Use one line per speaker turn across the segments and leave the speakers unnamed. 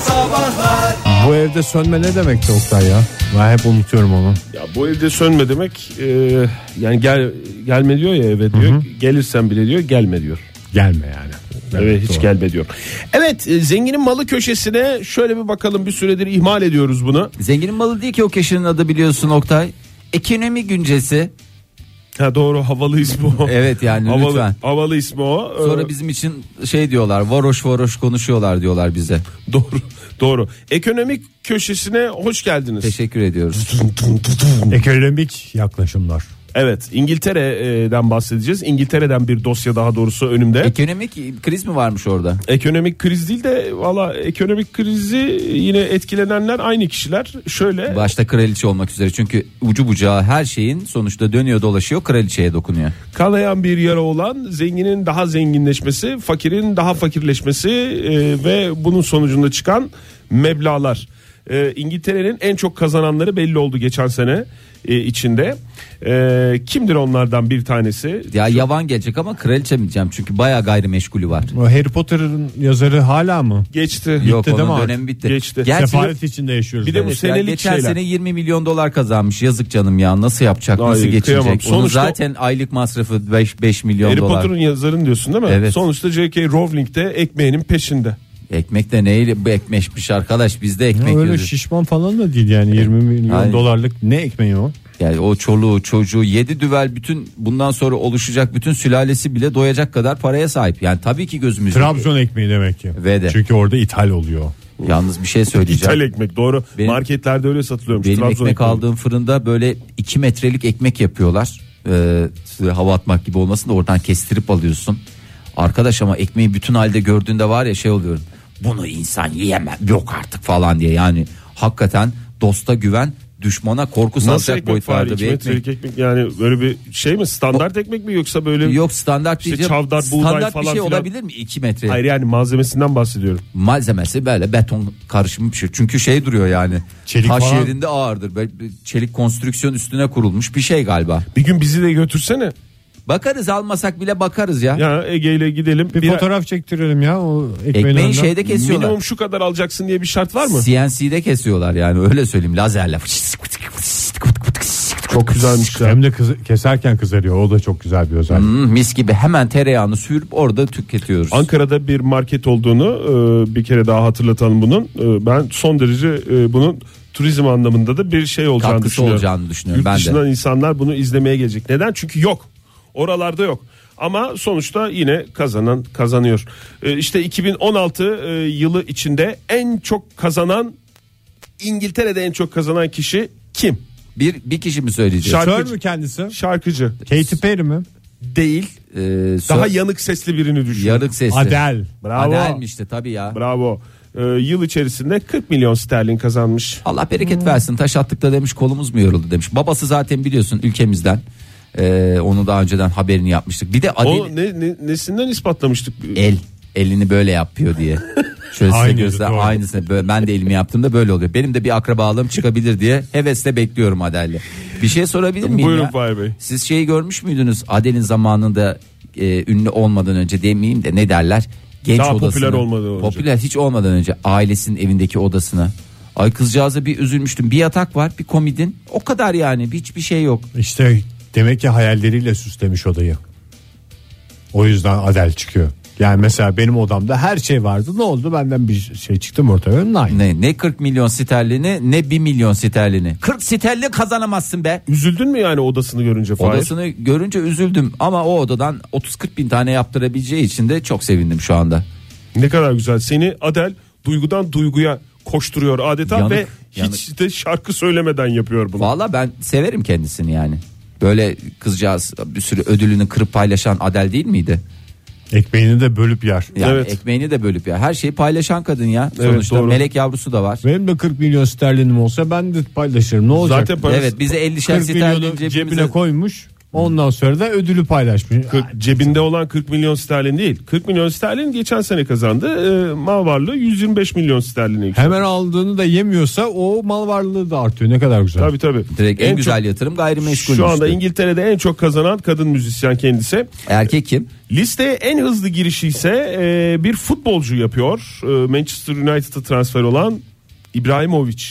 sabahlar
Bu evde sönme ne demekti Oktay ya? Ben hep unutuyorum onu.
Ya bu evde sönme demek e, yani gel gelme diyor ya eve diyor. Gelirsen bile diyor gelme diyor.
Gelme yani.
Evet, hiç gelme diyor. Evet e, zenginin malı köşesine şöyle bir bakalım bir süredir ihmal ediyoruz bunu.
Zenginin malı değil ki o köşenin adı biliyorsun Oktay Ekonomi güncesi
Ha doğru havalı ismi o.
Evet yani
havalı,
lütfen.
Havalı ismi o. Ee,
Sonra bizim için şey diyorlar varoş varoş konuşuyorlar diyorlar bize
Doğru doğru. Ekonomik köşesine hoş geldiniz.
Teşekkür ediyoruz
Ekonomik yaklaşımlar.
Evet İngiltere'den bahsedeceğiz. İngiltere'den bir dosya daha doğrusu önümde.
Ekonomik kriz mi varmış orada?
Ekonomik kriz değil de valla ekonomik krizi yine etkilenenler aynı kişiler. Şöyle
Başta kraliçe olmak üzere çünkü ucu bucağı her şeyin sonuçta dönüyor dolaşıyor kraliçeye dokunuyor.
kanayan bir yara olan zenginin daha zenginleşmesi, fakirin daha fakirleşmesi e, ve bunun sonucunda çıkan meblalar. E, İngiltere'nin en çok kazananları belli oldu geçen sene e, içinde. E, kimdir onlardan bir tanesi?
Ya yavan gelecek ama kraliçe mi diyeceğim çünkü bayağı gayrimeşgulü var.
O Harry Potter'ın yazarı hala mı?
Geçti.
Yok
değil mi
onun
artık?
dönemi bitti.
Geçti.
Gerçi-
Sefalet içinde yaşıyoruz.
Bir de bu
yani.
Evet, ya
senelik
geçen
şeyler.
sene 20 milyon dolar kazanmış. Yazık canım ya. Nasıl yapacak?
Ay,
nasıl geçecek?
kıyamam.
Onun
Sonuçta-
zaten aylık masrafı 5 5 milyon
Harry
dolar.
Potter'ın yazarını diyorsun değil mi?
Evet.
Sonuçta J.K. Rowling de ekmeğinin peşinde.
Ekmek de neyle bu ekmeşmiş arkadaş. Biz de
Ya
ekmek
öyle
yiyoruz.
şey-
şişman falan da değil yani 20 milyon
Aynen.
dolarlık ne ekmeği o?
Yani o çoluğu, çocuğu, yedi düvel bütün bundan sonra oluşacak bütün sülalesi bile doyacak kadar paraya sahip. Yani tabii ki gözümüz.
Trabzon ekmeği demek ki.
Ve de.
Çünkü orada ithal oluyor.
Yalnız bir şey söyleyeceğim.
İthal ekmek doğru.
Benim-
Marketlerde öyle satılıyormuş.
Benim
Trabzon
ekmek
ekmeği.
aldığım fırında böyle 2 metrelik ekmek yapıyorlar. Ee, size hava atmak gibi olmasın da oradan kestirip alıyorsun. Arkadaş ama ekmeği bütün halde gördüğünde var ya şey oluyorum. Bunu insan yiyemem yok artık falan diye yani hakikaten dosta güven düşmana korku
Nasıl
salacak
ekmek var?
boyutlarda
İki
bir ekmek.
metrelik ekmek yani böyle bir şey mi? Standart ekmek mi yoksa böyle
Yok standart
İşte
diyeceğim.
çavdar, buğday
standart bir
falan
şey
filan.
olabilir mi 2 metre?
Hayır yani malzemesinden bahsediyorum.
malzemesi böyle beton karışımı bir şey. Çünkü şey duruyor yani.
Çelik
taş
falan.
yerinde ağırdır. Böyle bir çelik konstrüksiyon üstüne kurulmuş bir şey galiba.
Bir gün bizi de götürsene.
Bakarız almasak bile bakarız ya.
Ya Ege ile gidelim.
Bir,
Bir-
fotoğraf çektirelim ya o ekmeğin önünden.
Ekmeği şeyde kesiyorlar.
Minimum şu kadar alacaksın diye bir şart var mı?
CNC'de kesiyorlar yani öyle söyleyeyim lazerle.
Çok güzelmiş ya.
Hem de kız- keserken kızarıyor. O da çok güzel bir özellik.
Hmm, mis gibi hemen tereyağını sürüp orada tüketiyoruz.
Ankara'da bir market olduğunu e, bir kere daha hatırlatalım bunun. E, Ben son derece e, bunun turizm anlamında da bir şey olacağını
Katkısı
düşünüyorum.
olacağını düşünüyorum
Yurt
ben de.
dışından insanlar bunu izlemeye gelecek. Neden? Çünkü yok. Oralarda yok. Ama sonuçta yine kazanan kazanıyor. E, İşte 2016 e, yılı içinde en çok kazanan İngiltere'de en çok kazanan kişi kim?
Bir bir kişi mi söyleyecek?
Şarkı-
Sör mü kendisi?
Şarkıcı.
Katy Perry mi?
Değil.
Ee,
Daha
sö-
yanık sesli birini düşün.
yarık sesli.
Adele.
Bravo.
Adelmişti tabii ya.
Bravo. Ee, yıl içerisinde 40 milyon sterlin kazanmış.
Allah bereket versin taş attık da demiş kolumuz mu yoruldu demiş. Babası zaten biliyorsun ülkemizden. Ee, onu daha önceden haberini yapmıştık. Bir de
O
Adil
ne, ne- nesinden ispatlamıştık?
el elini böyle yapıyor diye. Şöyle size
Aynıydı,
göster
doğru.
aynısını böyle, ben de elimi yaptığımda böyle oluyor. Benim de bir akrabalığım çıkabilir diye hevesle bekliyorum Adel'le. Bir şey sorabilir miyim
Buyurun
ya?
Fahir Bey.
Siz şeyi görmüş müydünüz Adel'in zamanında e, ünlü olmadan önce demeyeyim de ne derler? Genç
Daha popüler
odasını-
olmadan önce.
Popüler hiç olmadan önce ailesinin evindeki odasına. Ay kızcağıza bir üzülmüştüm. Bir yatak var bir komidin. O kadar yani hiçbir şey yok.
İşte demek ki hayalleriyle süslemiş odayı. O yüzden Adele çıkıyor. Yani mesela benim odamda her şey vardı. Ne oldu? Benden bir şey çıktı mı ortaya? Onun aynı.
Ne, ne 40 milyon sterlini ne 1 milyon sterlini. 40 sterlin kazanamazsın be.
Üzüldün mü yani odasını görünce Fahir?
Odasını görünce üzüldüm ama o odadan 30-40 bin tane yaptırabileceği için de çok sevindim şu anda.
Ne kadar güzel. Seni Adel duygudan duyguya koşturuyor adeta
Yanık,
ve
yanık.
hiç de şarkı söylemeden yapıyor bunu.
Valla ben severim kendisini yani. Böyle kızcağız bir sürü ödülünü kırıp paylaşan Adel değil miydi?
Ekmeğini de bölüp yer.
Yani
Evet.
ekmeğini de bölüp ya. Her şeyi paylaşan kadın ya.
Evet,
Sonuçta
doğru.
melek yavrusu da var.
Benim de 40 milyon sterlinim olsa ben de paylaşırım. Ne olacak?
Zaten parası-
Evet bize 50 şer
40 milyonu
sterlin
cebine
cebimize
koymuş. Ondan sonra da ödülü paylaşmış.
Kırk- cebinde olan 40 milyon sterlin değil. 40 milyon sterlin geçen sene kazandı. Ee, mal varlığı 125 milyon sterline yükseldi.
Hemen aldığını da yemiyorsa o mal varlığı da artıyor. Ne kadar güzel.
Tabii tabii.
Direkt en,
çok-
güzel yatırım gayrimenkul.
Şu anda
üstü.
İngiltere'de en çok kazanan kadın müzisyen kendisi.
Erkek kim?
Listeye en hızlı girişi ise e, bir futbolcu yapıyor. E, Manchester United'a transfer olan Ibrahimovic.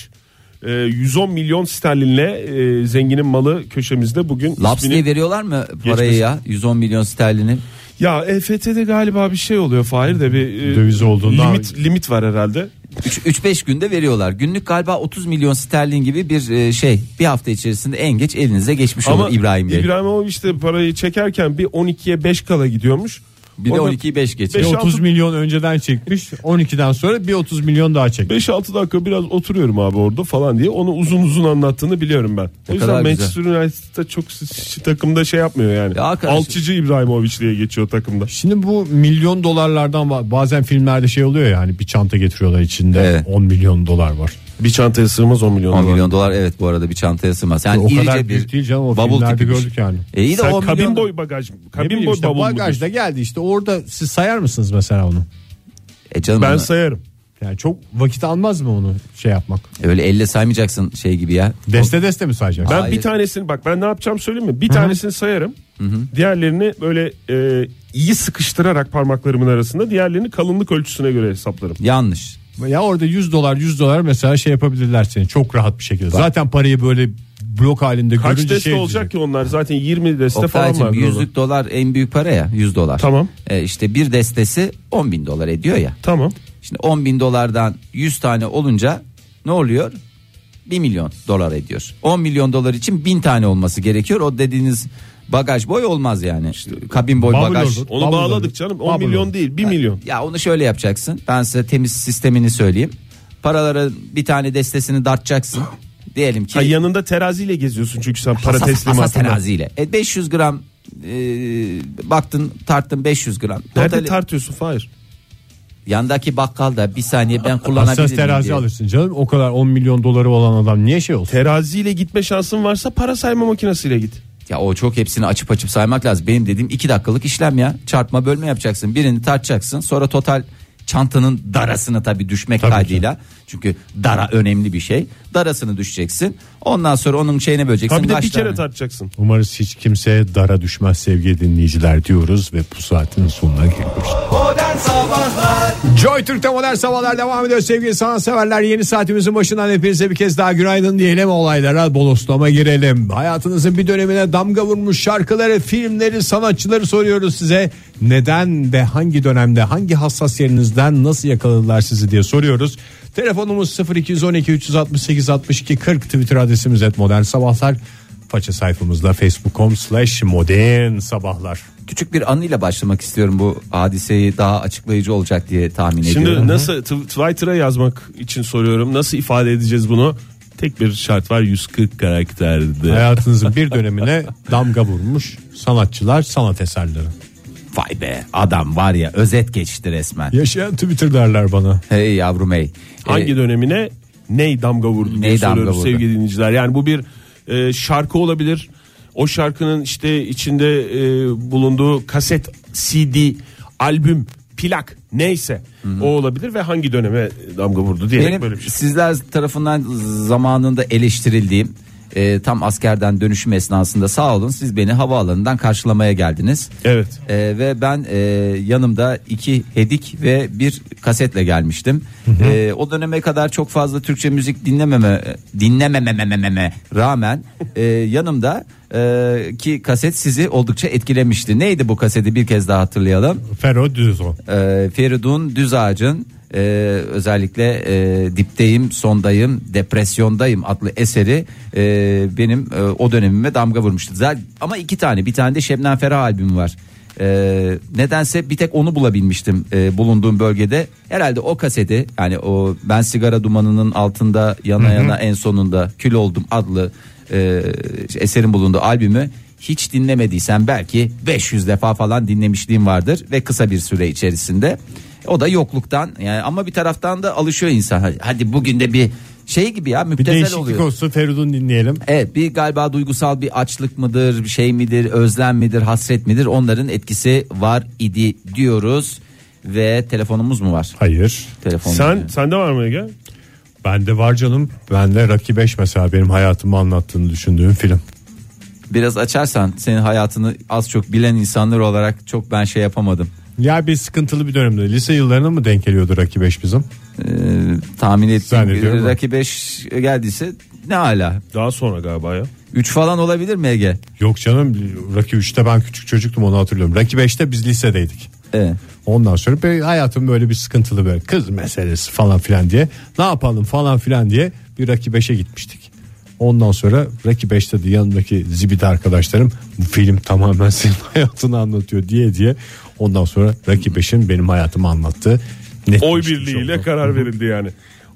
E, 110 milyon sterlinle e, zenginin malı köşemizde bugün.
Laps
ismini-
diye veriyorlar mı parayı
Geçmesin.
ya? 110 milyon sterlini.
Ya EFT'de galiba bir şey oluyor Fahir de bir e,
Döviz olduğundan-
limit, limit var herhalde.
3-5 günde veriyorlar. Günlük galiba 30 milyon sterlin gibi bir e, şey. Bir hafta içerisinde en geç elinize geçmiş
Ama
olur İbrahim Bey.
İbrahimovic de parayı çekerken bir 12'ye 5 kala gidiyormuş.
Bir de 12'yi 5
Bir
geçer.
Beş-
30
altı-
milyon önceden çekmiş. 12'den sonra bir 30 milyon daha çekmiş.
5-6 dakika biraz oturuyorum abi orada falan diye onu uzun uzun anlattığını biliyorum ben. O
kadar
yüzden
güzel.
Manchester United'da çok s- s- takımda şey yapmıyor yani.
Ya arkadaş-
Alçıcı İbrahimovic diye geçiyor takımda.
Şimdi bu milyon dolarlardan ba- bazen filmlerde şey oluyor ya hani bir çanta getiriyorlar içinde
Evet.
10 milyon dolar var.
Bir çantaya sığmaz 10 milyon
10 milyon dolar evet bu arada bir çantaya sığmaz. Yani
o
Hani irice
kadar
bir
büyük değil canım o
bubble
filmlerde
tipi bir şey.
gördük yani.
E iyi de
Sen
10
kabin
milyon
boy bagaj
Ne
kabin
bileyim
boy
işte,
bavul mu
bagajda geldi işte orada siz sayar mısınız mesela onu?
E
diyorsun?
canım
Ben
onu-
sayarım.
Yani çok vakit almaz mı onu şey yapmak?
öyle elle saymayacaksın şey gibi ya.
Deste deste mi sayacaksın?
Ben
Hayır.
bir tanesini bak ben ne yapacağım söyleyeyim mi? Bir tanesini sayarım. Diğerlerini böyle e, iyi sıkıştırarak parmaklarımın arasında diğerlerini kalınlık ölçüsüne göre hesaplarım.
Yanlış.
Ya orada 100 dolar 100 dolar mesela şey yapabilirler seni çok rahat bir şekilde. Zaten parayı böyle blok halinde
Kaç
görünce
deste
şey
olacak
diyecek.
ki onlar zaten 20 deste falan
Oktay'cım
var.
yüzlük dolar en büyük para ya 100 dolar.
Tamam.
E işte bir destesi 10 bin dolar ediyor ya.
Tamam.
Şimdi 10 bin dolardan 100 tane olunca ne oluyor? 1 milyon dolar ediyor. 10 milyon dolar için 1000 tane olması gerekiyor. O dediğiniz bagaj boy olmaz yani. Kabin boy
bubble
bagaj.
olur.
Onu
Bubble
bağladık
olur.
canım. 10
Bubble
milyon
olur.
değil 1 milyon.
Ya onu şöyle yapacaksın. Ben size temiz sistemini söyleyeyim. Paralara bir tane destesini dartacaksın. Diyelim ki
Ha, yanında teraziyle geziyorsun çünkü sen para
Hassas- hassas
teslimatında.
teraziyle. E 500 gram e, baktın tarttın 500 gram.
Nerede
Totali-
tartıyorsun Fahir?
Yandaki bakkalda bir saniye ben kullanabilirim
Hassas terazi
diye.
alırsın canım o kadar 10 milyon doları olan adam niye şey olsun?
Teraziyle gitme şansın varsa para sayma makinesiyle git.
Ya o çok hepsini açıp açıp saymak lazım. Benim dediğim 2 dakikalık işlem ya. Çarpma bölme yapacaksın. Birini tartacaksın. Sonra total çantanın darasını tabii düşmek
Tabii ki.
kaydıyla. Çünkü dara önemli bir şey. Darasını düşeceksin. Ondan sonra onun şeyine böleceksin.
Tabii de bir
kaç
kere
tane?
tartacaksın.
Umarız hiç kimse dara düşmez sevgili dinleyiciler diyoruz ve bu saatin sonuna geliyoruz. Joy Türk'te modern sabahlar devam ediyor sevgili sanatseverler. Yeni saatimizin başından hepinize bir kez daha günaydın diyelim olaylara boloslama girelim. Hayatınızın bir dönemine damga vurmuş şarkıları, filmleri, sanatçıları soruyoruz size. Neden ve hangi dönemde hangi hassas yerinizden nasıl yakaladılar sizi diye soruyoruz. Telefonumuz 0212 368 62 40 Twitter adresimiz et modern sabahlar. Faça sayfamızda facebook.com slash modern sabahlar.
Küçük bir anıyla başlamak istiyorum bu hadiseyi daha açıklayıcı olacak diye tahmin ediyorum.
Şimdi nasıl t- Twitter'a yazmak için soruyorum. Nasıl ifade edeceğiz bunu? Tek bir şart var 140 karakterde.
Hayatınızın bir dönemine damga vurmuş sanatçılar, sanat eserleri.
Vay be adam var ya özet geçti resmen.
Yaşayan Twitter derler bana.
Hey yavrum hey.
Hangi
Ee,
dönemine ney damga vurdu diye
Ney damga
soruyoruz
vurdu?
sevgili dinleyiciler. Yani bu bir e, şarkı olabilir. O şarkının işte içinde e, bulunduğu kaset, CD, albüm, plak neyse o olabilir ve hangi döneme damga vurdu diyerek
Benim
böyle bir şey.
sizler tarafından zamanında eleştirildiğim e, tam askerden dönüşüm esnasında sağ olun siz beni havaalanından karşılamaya geldiniz.
Evet.
E, ve ben e, yanımda iki hedik ve bir kasetle gelmiştim. E, o döneme kadar çok fazla Türkçe müzik dinlememe dinlememememe rağmen e, yanımda e, ki kaset sizi oldukça etkilemişti. Neydi bu kaseti bir kez daha hatırlayalım.
Fero Düzo.
Ee, Feridun Düzağaç'ın e, özellikle e, dipteyim, sondayım, depresyondayım adlı eseri e, benim e, o dönemime damga vurmuştu. Zaten, ama iki tane, bir tane de Şebnem Ferah albümü var. E, nedense bir tek onu bulabilmiştim e, bulunduğum bölgede. Herhalde o kaseti yani o ben sigara dumanının altında yana yana en sonunda kül oldum adlı e, eserin bulunduğu albümü hiç dinlemediysen belki 500 defa falan dinlemişliğim vardır ve kısa bir süre içerisinde o da yokluktan yani ama bir taraftan da alışıyor insan hadi, hadi bugün de bir şey gibi ya
Bir
müptezel
değişiklik
oluyor.
olsun Feridun dinleyelim.
Evet bir galiba duygusal bir açlık mıdır bir şey midir özlem midir hasret midir onların etkisi var idi diyoruz ve telefonumuz mu var?
Hayır.
Telefon
Sen sende var mı Ege?
Bende var canım. Bende Rocky 5 mesela benim hayatımı anlattığını düşündüğüm film.
biraz açarsan senin hayatını az çok bilen insanlar olarak çok ben şey yapamadım.
Ya bir sıkıntılı bir dönemde. Lise yıllarına mı denk geliyordu Rocky 5 bizim?
Ee, tahmin ettiğim
Zannediyorum
gibi
ama.
Rocky 5 geldiyse ne hala
Daha sonra galiba ya.
3 falan olabilir mi Ege?
Yok canım Rocky 3'te ben küçük çocuktum onu hatırlıyorum. Rocky 5'te biz lisedeydik.
Evet.
Ondan sonra bir hayatım böyle bir sıkıntılı böyle kız meselesi falan filan diye ne yapalım falan filan diye bir Rocky 5'e gitmiştik. Ondan sonra Rocky 5'te de yanındaki zibidi arkadaşlarım bu film tamamen senin hayatını anlatıyor diye diye ondan sonra Rocky 5'in benim hayatımı anlattığı
Oy
netleşmiş
birliğiyle
oldu.
karar verildi yani.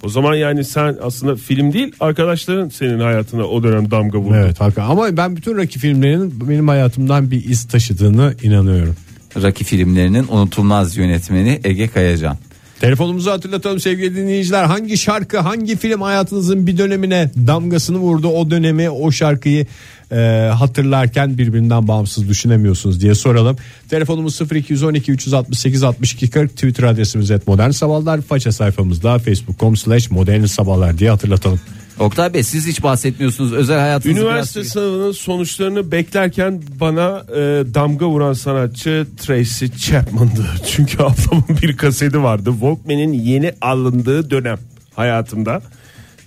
O zaman yani sen aslında film değil arkadaşların senin hayatına o dönem damga vurdu.
Evet hakikaten. ama ben bütün Rocky filmlerinin benim hayatımdan bir iz taşıdığını inanıyorum.
Rocky filmlerinin unutulmaz yönetmeni Ege Kayacan.
Telefonumuzu hatırlatalım sevgili dinleyiciler. Hangi şarkı, hangi film hayatınızın bir dönemine damgasını vurdu? O dönemi, o şarkıyı e, hatırlarken birbirinden bağımsız düşünemiyorsunuz diye soralım. Telefonumuz 0212 368 62 40. Twitter adresimiz et modern sabahlar. Faça sayfamızda facebook.com slash modern sabahlar diye hatırlatalım.
Oktay Bey siz hiç bahsetmiyorsunuz özel hayatınızı
Üniversite
biraz...
sınavının sonuçlarını beklerken bana e, damga vuran sanatçı Tracy Chapman'dı. Çünkü ablamın bir kaseti vardı. Walkman'in yeni alındığı dönem hayatımda.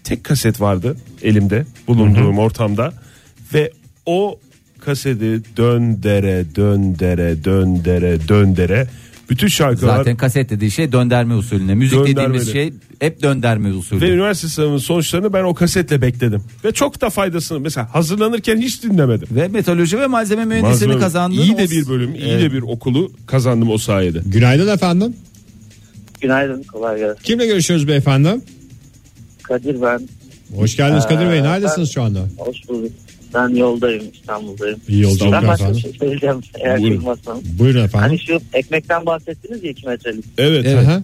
Tek kaset vardı elimde bulunduğum ortamda. Ve o kaseti döndere döndere döndere döndere bütün şarkılar
Zaten kaset dediği şey dönderme usulüne. Müzik dediğimiz
Döndermeli.
şey hep dönderme usulü.
Ve üniversite sınavının sonuçlarını ben o kasetle bekledim. Ve çok da faydasını mesela hazırlanırken hiç dinlemedim.
Ve meteoroloji ve malzeme mühendisliğini
Malzeme-
kazandın.
İyi
O-
de bir bölüm, iyi de bir okulu kazandım o sayede.
Günaydın efendim.
Günaydın kolay gelsin.
Kimle görüşüyoruz beyefendi?
Kadir ben.
Hoş geldiniz Kadir Bey.
Ee,
Neredesiniz
ben-
şu anda?
Hoş bulduk. Ben yoldayım İstanbul'dayım.
İyi yolculuklar
Ben başka bir
efendim.
şey söyleyeceğim eğer
Buyurun.
kızmazsanız.
Buyurun efendim.
Hani şu ekmekten bahsettiniz ya 2 metrelik.
Evet. E,
Evet.
Aha.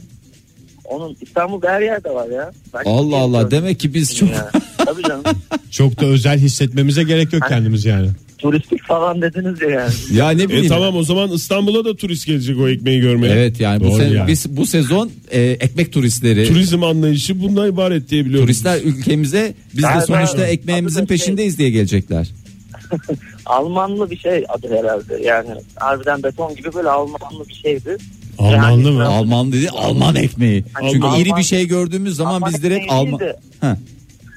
Onun İstanbul'da her yerde var ya. Ben
Allah Allah
bilmiyorum.
demek ki biz çok
Ya. Tabii canım.
Çok da özel hissetmemize gerek
Hani-
yok kendimiz yani.
Turistik falan dediniz ya yani.
ya ne
E
bileyim.
tamam o zaman İstanbul'a da turist gelecek o ekmeği görmeye.
Evet yani bu
Doğru
se-
yani.
biz bu sezon e, ekmek turistleri
Turizm anlayışı bundan ibaret diye biliyorum.
turistler ülkemize biz de
Galiba-
sonuçta ekmeğimizin
Adı da şey-
peşindeyiz diye gelecekler.
Almanlı bir şey adı herhalde. Yani harbiden beton gibi böyle Almanlı bir şeydi.
Almanlı
Yani-
mı?
Alman dedi Alman ekmeği.
Hani
Çünkü
Alman-
iri bir şey gördüğümüz zaman
Alman
biz direkt
ekmeği
Alman
değildi.
Ha.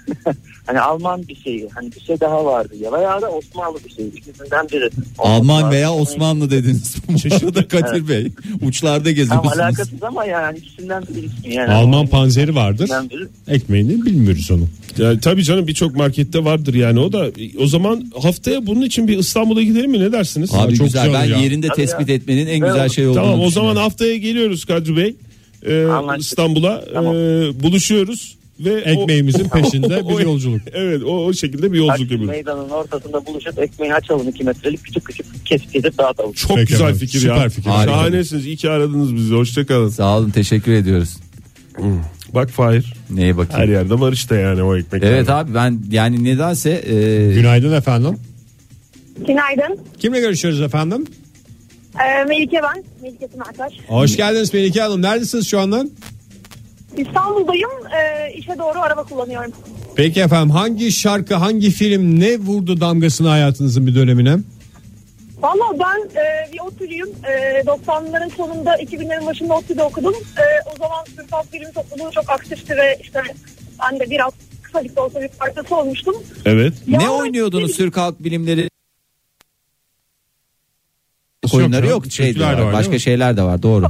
hani Alman bir şeyi. Hani bir şey daha vardı. Ya veya da Osmanlı bir şey. İkisinden biri.
Alman veya
Osmanlı- şey.
Osmanlı dediniz. Bu arada Kadir Bey uçlarda
Tam
geziyorsunuz.
alakasız ama yani ikisinden biri ismi yani.
Alman panzeri vardır.
İkisinden biri.
Ekmeğini bilmiyoruz onu.
Ya, tabii canım birçok markette vardır yani o da. O zaman haftaya bunun için bir İstanbul'a gidelim mi ne dersiniz?
Abi
çok
güzel
güzel
ben
olur ya.
yerinde
Tabii
tespit
ya.
etmenin en
Güzel
güzel
olur.
şey olduğunu
Tamam o zaman
düşünüyorum.
haftaya geliyoruz Kadri Bey. Ee,
Anlaştık.
İstanbul'a e,
Tamam.
buluşuyoruz ve o-
Ekmeğimizin peşinde bir yolculuk.
Evet o, o şekilde bir yolculuk
Taksim
yapıyoruz.
meydanın ortasında buluşup ekmeği açalım 2 metrelik küçük küçük kesip gidip dağıtalım.
Çok
Peki
güzel
efendim,
fikir
süper
ya.
fikir.
Harika.
Şahanesiniz. İyi ki aradınız bizi. Hoşçakalın.
Sağ olun teşekkür ediyoruz.
Bak Fahir.
Neye bakayım?
Her yerde var işte yani o ekmek.
Evet abi ben yani nedense e,
Günaydın efendim.
Günaydın.
Kimle görüşüyoruz efendim?
Ee, Melike ben. Melike Tınartaş.
Hoş geldiniz Melike Hanım. Neredesiniz şu anda?
İstanbul'dayım. Ee, işe doğru araba kullanıyorum.
Peki efendim hangi şarkı, hangi film ne vurdu damgasını hayatınızın bir dönemine?
Valla ben e, bir otülüyüm. E, 90'ların sonunda 2000'lerin başında otülde okudum. E, o zaman Türk bilim topluluğu çok aktifti ve işte ben de biraz kısacık da olsa bir parçası olmuştum.
Evet.
ne
Ya,
oynuyordunuz
işte-
Türk Halk Bilimleri oyunları
ya,
yok, şey de
türküler de
var,
var, değil
başka
mi?
şeyler de var doğru.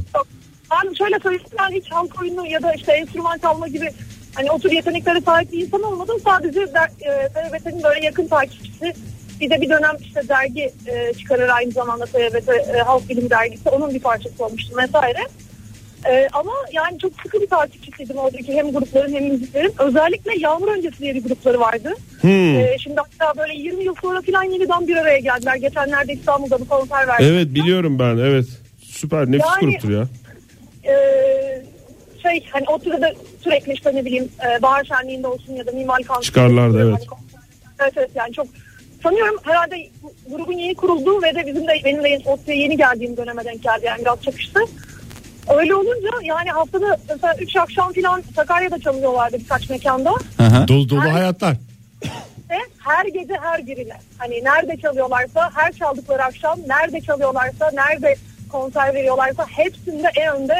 Ben şöyle söyleyeyim ben hiç halk oyunu ya da işte enstrüman çalma gibi hani o tür yeteneklere sahip bir insan olmadım. Sadece der, e, TRT'nin böyle yakın takipçisi. Bir de bir dönem işte dergi e, çıkarır aynı zamanda TRT e, Halk Bilim Dergisi. Onun bir parçası olmuştum vesaire. E, ama yani çok sıkı bir takipçisiydim oradaki hem grupların hem müziklerin. Özellikle Yağmur Öncesi diye bir grupları vardı. E, şimdi hatta böyle 20 yıl sonra filan yeniden bir araya geldiler. Geçenlerde İstanbul'da bir konser verdiler.
Evet biliyorum ben. Evet. Süper nefis
Yani-
gruptur ya.
Ee, şey hani o sırada sürekli işte ne bileyim e, bahar şenliğinde olsun ya da mimar kanunu.
Çıkarlardı, evet.
Evet evet yani çok sanıyorum herhalde grubun yeni kurulduğu ve de bizim de benim de OTTÜ'ye yeni geldiğim döneme denk geldi yani biraz çakıştı. Öyle olunca yani haftada mesela 3 akşam falan Sakarya'da çalıyorlardı birkaç mekanda.
Aha.
Dolu dolu
Her-
hayatlar.
Ve her gece her birine hani nerede çalıyorlarsa her çaldıkları akşam nerede çalıyorlarsa nerede konser veriyorlarsa hepsinde en önde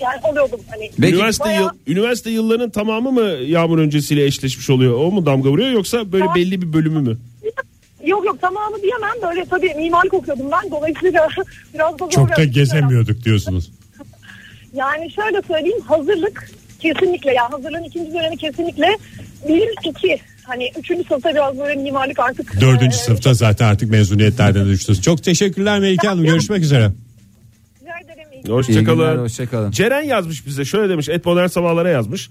yani oluyordum hani.
Peki.
üniversite
Bayağı-
yıl- üniversite yıllarının tamamı mı yağmur öncesiyle eşleşmiş oluyor? O mu damga vuruyor yoksa böyle
Tamam.
belli bir bölümü mü?
Yok yok tamamı diyemem böyle tabii mimarlık okuyordum ben dolayısıyla biraz da zor
Çok da
yaptım.
gezemiyorduk diyorsunuz.
Yani şöyle söyleyeyim hazırlık kesinlikle ya hazırlığın ikinci dönemi kesinlikle bir iki hani üçüncü sınıfta biraz böyle mimarlık artık.
Dördüncü
e,
sınıfta zaten artık mezuniyetlerden düştünüz. Çok teşekkürler Melike Hanım. Görüşmek üzere.
rica ederim, iyi
İyi günler,
Hoşçakalın.
hoşçakalın.
Ceren yazmış bize şöyle demiş et modern sabahlara yazmış.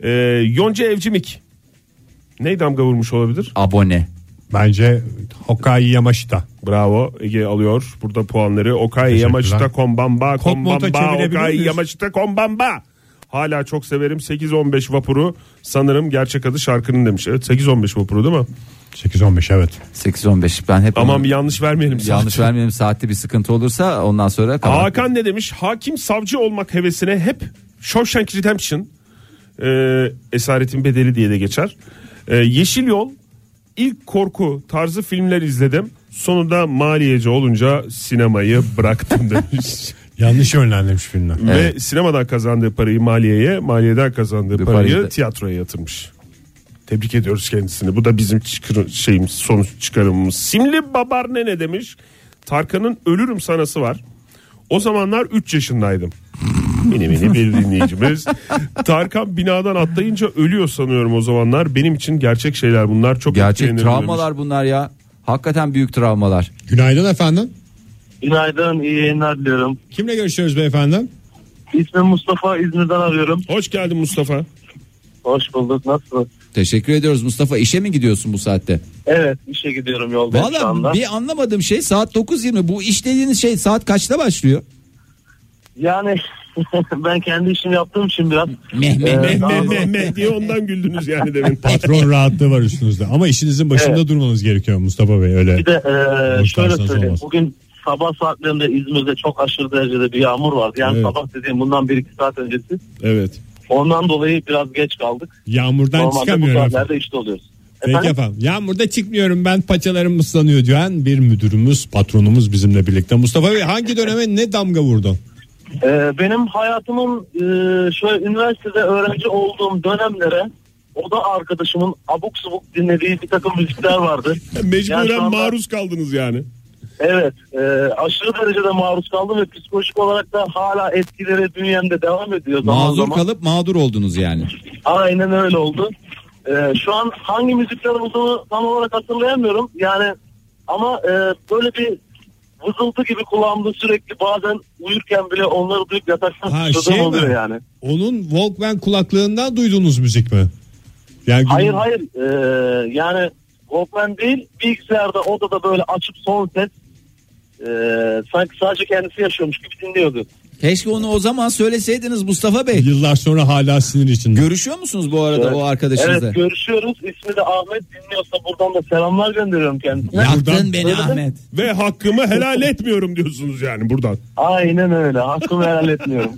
Ee, Yonca Evcimik. Ne damga vurmuş olabilir?
Abone.
Bence Hokkaido Yamashita.
Bravo Ege alıyor burada puanları. Okay
Teşekkürler.
Yamashita Kombamba
Kopmota
Kombamba
çevirebilir
Okay
miyiz?
Yamashita Kombamba. Hala çok severim 8-15 vapuru sanırım gerçek adı şarkının demiş. Evet 8-15 vapuru değil mi?
8-15 evet.
8-15 ben hep
Aman
onu-
yanlış vermeyelim.
yanlış
saati.
vermeyelim saatte bir sıkıntı olursa ondan sonra kalan.
Hakan ne demiş? Hakim savcı olmak hevesine hep Shawshank Redemption e, esaretin bedeli diye de geçer. E, Yeşil Yol ilk korku tarzı filmler izledim. Sonunda maliyeci olunca sinemayı bıraktım demiş.
Yanlış yönlendirmiş filmler.
Ve sinemadan kazandığı parayı maliyeye, maliyeden kazandığı
Bir
parayı
parayı da-
tiyatroya yatırmış. Tebrik ediyoruz kendisini. Bu da bizim çıkar- şeyimiz, sonuç çıkarımımız. Simli Babar ne ne demiş? Tarkan'ın Ölürüm sanası var. O zamanlar 3 yaşındaydım. Mini mini bir dinleyicimiz. Tarkan binadan atlayınca ölüyor sanıyorum o zamanlar. Benim için gerçek şeyler bunlar. Çok
Gerçek
etkilenirim
travmalar bunlar ya. Hakikaten büyük travmalar.
Günaydın efendim.
Günaydın, iyi yayınlar diliyorum.
Kimle görüşüyoruz beyefendi?
İsmim Mustafa, İzmir'den arıyorum.
demiş. Hoş geldin Mustafa.
Hoş bulduk, nasılsınız?
Teşekkür ediyoruz Mustafa. İşe mi gidiyorsun bu saatte?
Evet, işe gidiyorum yolda şu anda.
Valla bir anlamadığım şey saat 9.20. Bu iş dediğiniz şey saat kaçta başlıyor?
Yani ben kendi işimi yaptığım için biraz...
Meh meh
Ee,
meh.
daha-
Meh meh meh diye ondan güldünüz yani demin.
Patron rahatlığı var üstünüzde. Ama işinizin başında durmanız gerekiyor Mustafa Bey öyle.
Bir de e, şöyle
Boşlarsanız
söyleyeyim.
olmaz.
Bugün sabah saatlerinde İzmir'de çok aşırı derecede bir yağmur vardı. Yani
Evet.
sabah dediğim bundan 1-2 saat öncesi.
Evet.
Ondan dolayı biraz geç kaldık.
Yağmurdan
Normalde bu
çıkamıyorum efendim.
saatlerde işte oluyoruz.
Peki
Efendim?
efendim. Yağmurda çıkmıyorum ben paçalarım ıslanıyor diyen bir müdürümüz patronumuz bizimle birlikte. Mustafa Bey hangi döneme ne damga vurdu?
Ee, benim hayatımın e, şöyle üniversitede öğrenci olduğum dönemlere o da arkadaşımın abuk subuk dinlediği bir takım müzikler vardı. Yani şu
Mecburen
anda-
maruz kaldınız yani.
Evet e, aşırı derecede maruz kaldım ve psikolojik olarak da hala etkileri bünyemde devam ediyor zaman
Mazur
zaman.
kalıp mağdur oldunuz yani.
Aynen öyle oldu. Ee, şu an hangi müzikler olduğunu tam olarak hatırlayamıyorum. Yani ama e, böyle bir vızıltı gibi kulağımda sürekli bazen uyurken bile onları duyup yataktan
Ha,
çıktığım
şey mi?
oluyor yani.
Onun Walkman kulaklığından duyduğunuz müzik mi? Yani
Hayır hayır Ee, yani Walkman değil bilgisayarda odada böyle açıp son ses ee, sanki sadece kendisi yaşıyormuş gibi dinliyordu.
Keşke onu o zaman söyleseydiniz Mustafa Bey.
Yıllar sonra hala sinir içinde.
Görüşüyor musunuz bu arada
Evet.
o arkadaşınızla?
Evet görüşüyoruz. İsmi de Ahmet dinliyorsa buradan da selamlar gönderiyorum kendisine.
Yaktın
Buradan-
beni Ahmet.
Ve hakkımı helal etmiyorum diyorsunuz yani buradan.
Aynen öyle. Hakkımı helal etmiyorum.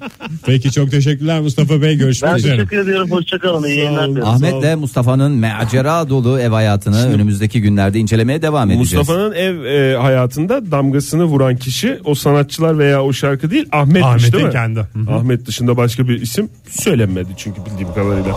Peki çok teşekkürler Mustafa Bey. Görüşmek
Ben
üzere.
teşekkür ediyorum. Hoşçakalın. İyi yayınlar
olun.
dilerim.
Ahmet'le Mustafa'nın macera dolu ev hayatını önümüzdeki günlerde incelemeye devam edeceğiz.
Mustafa'nın ev e, hayatında damgasını vuran kişi o sanatçılar veya o şarkı değil Ahmet'miş
Ahmet'in
değil mi?
kendi. Hı hı.
Ahmet dışında başka bir isim söylenmedi çünkü bildiğim kadarıyla.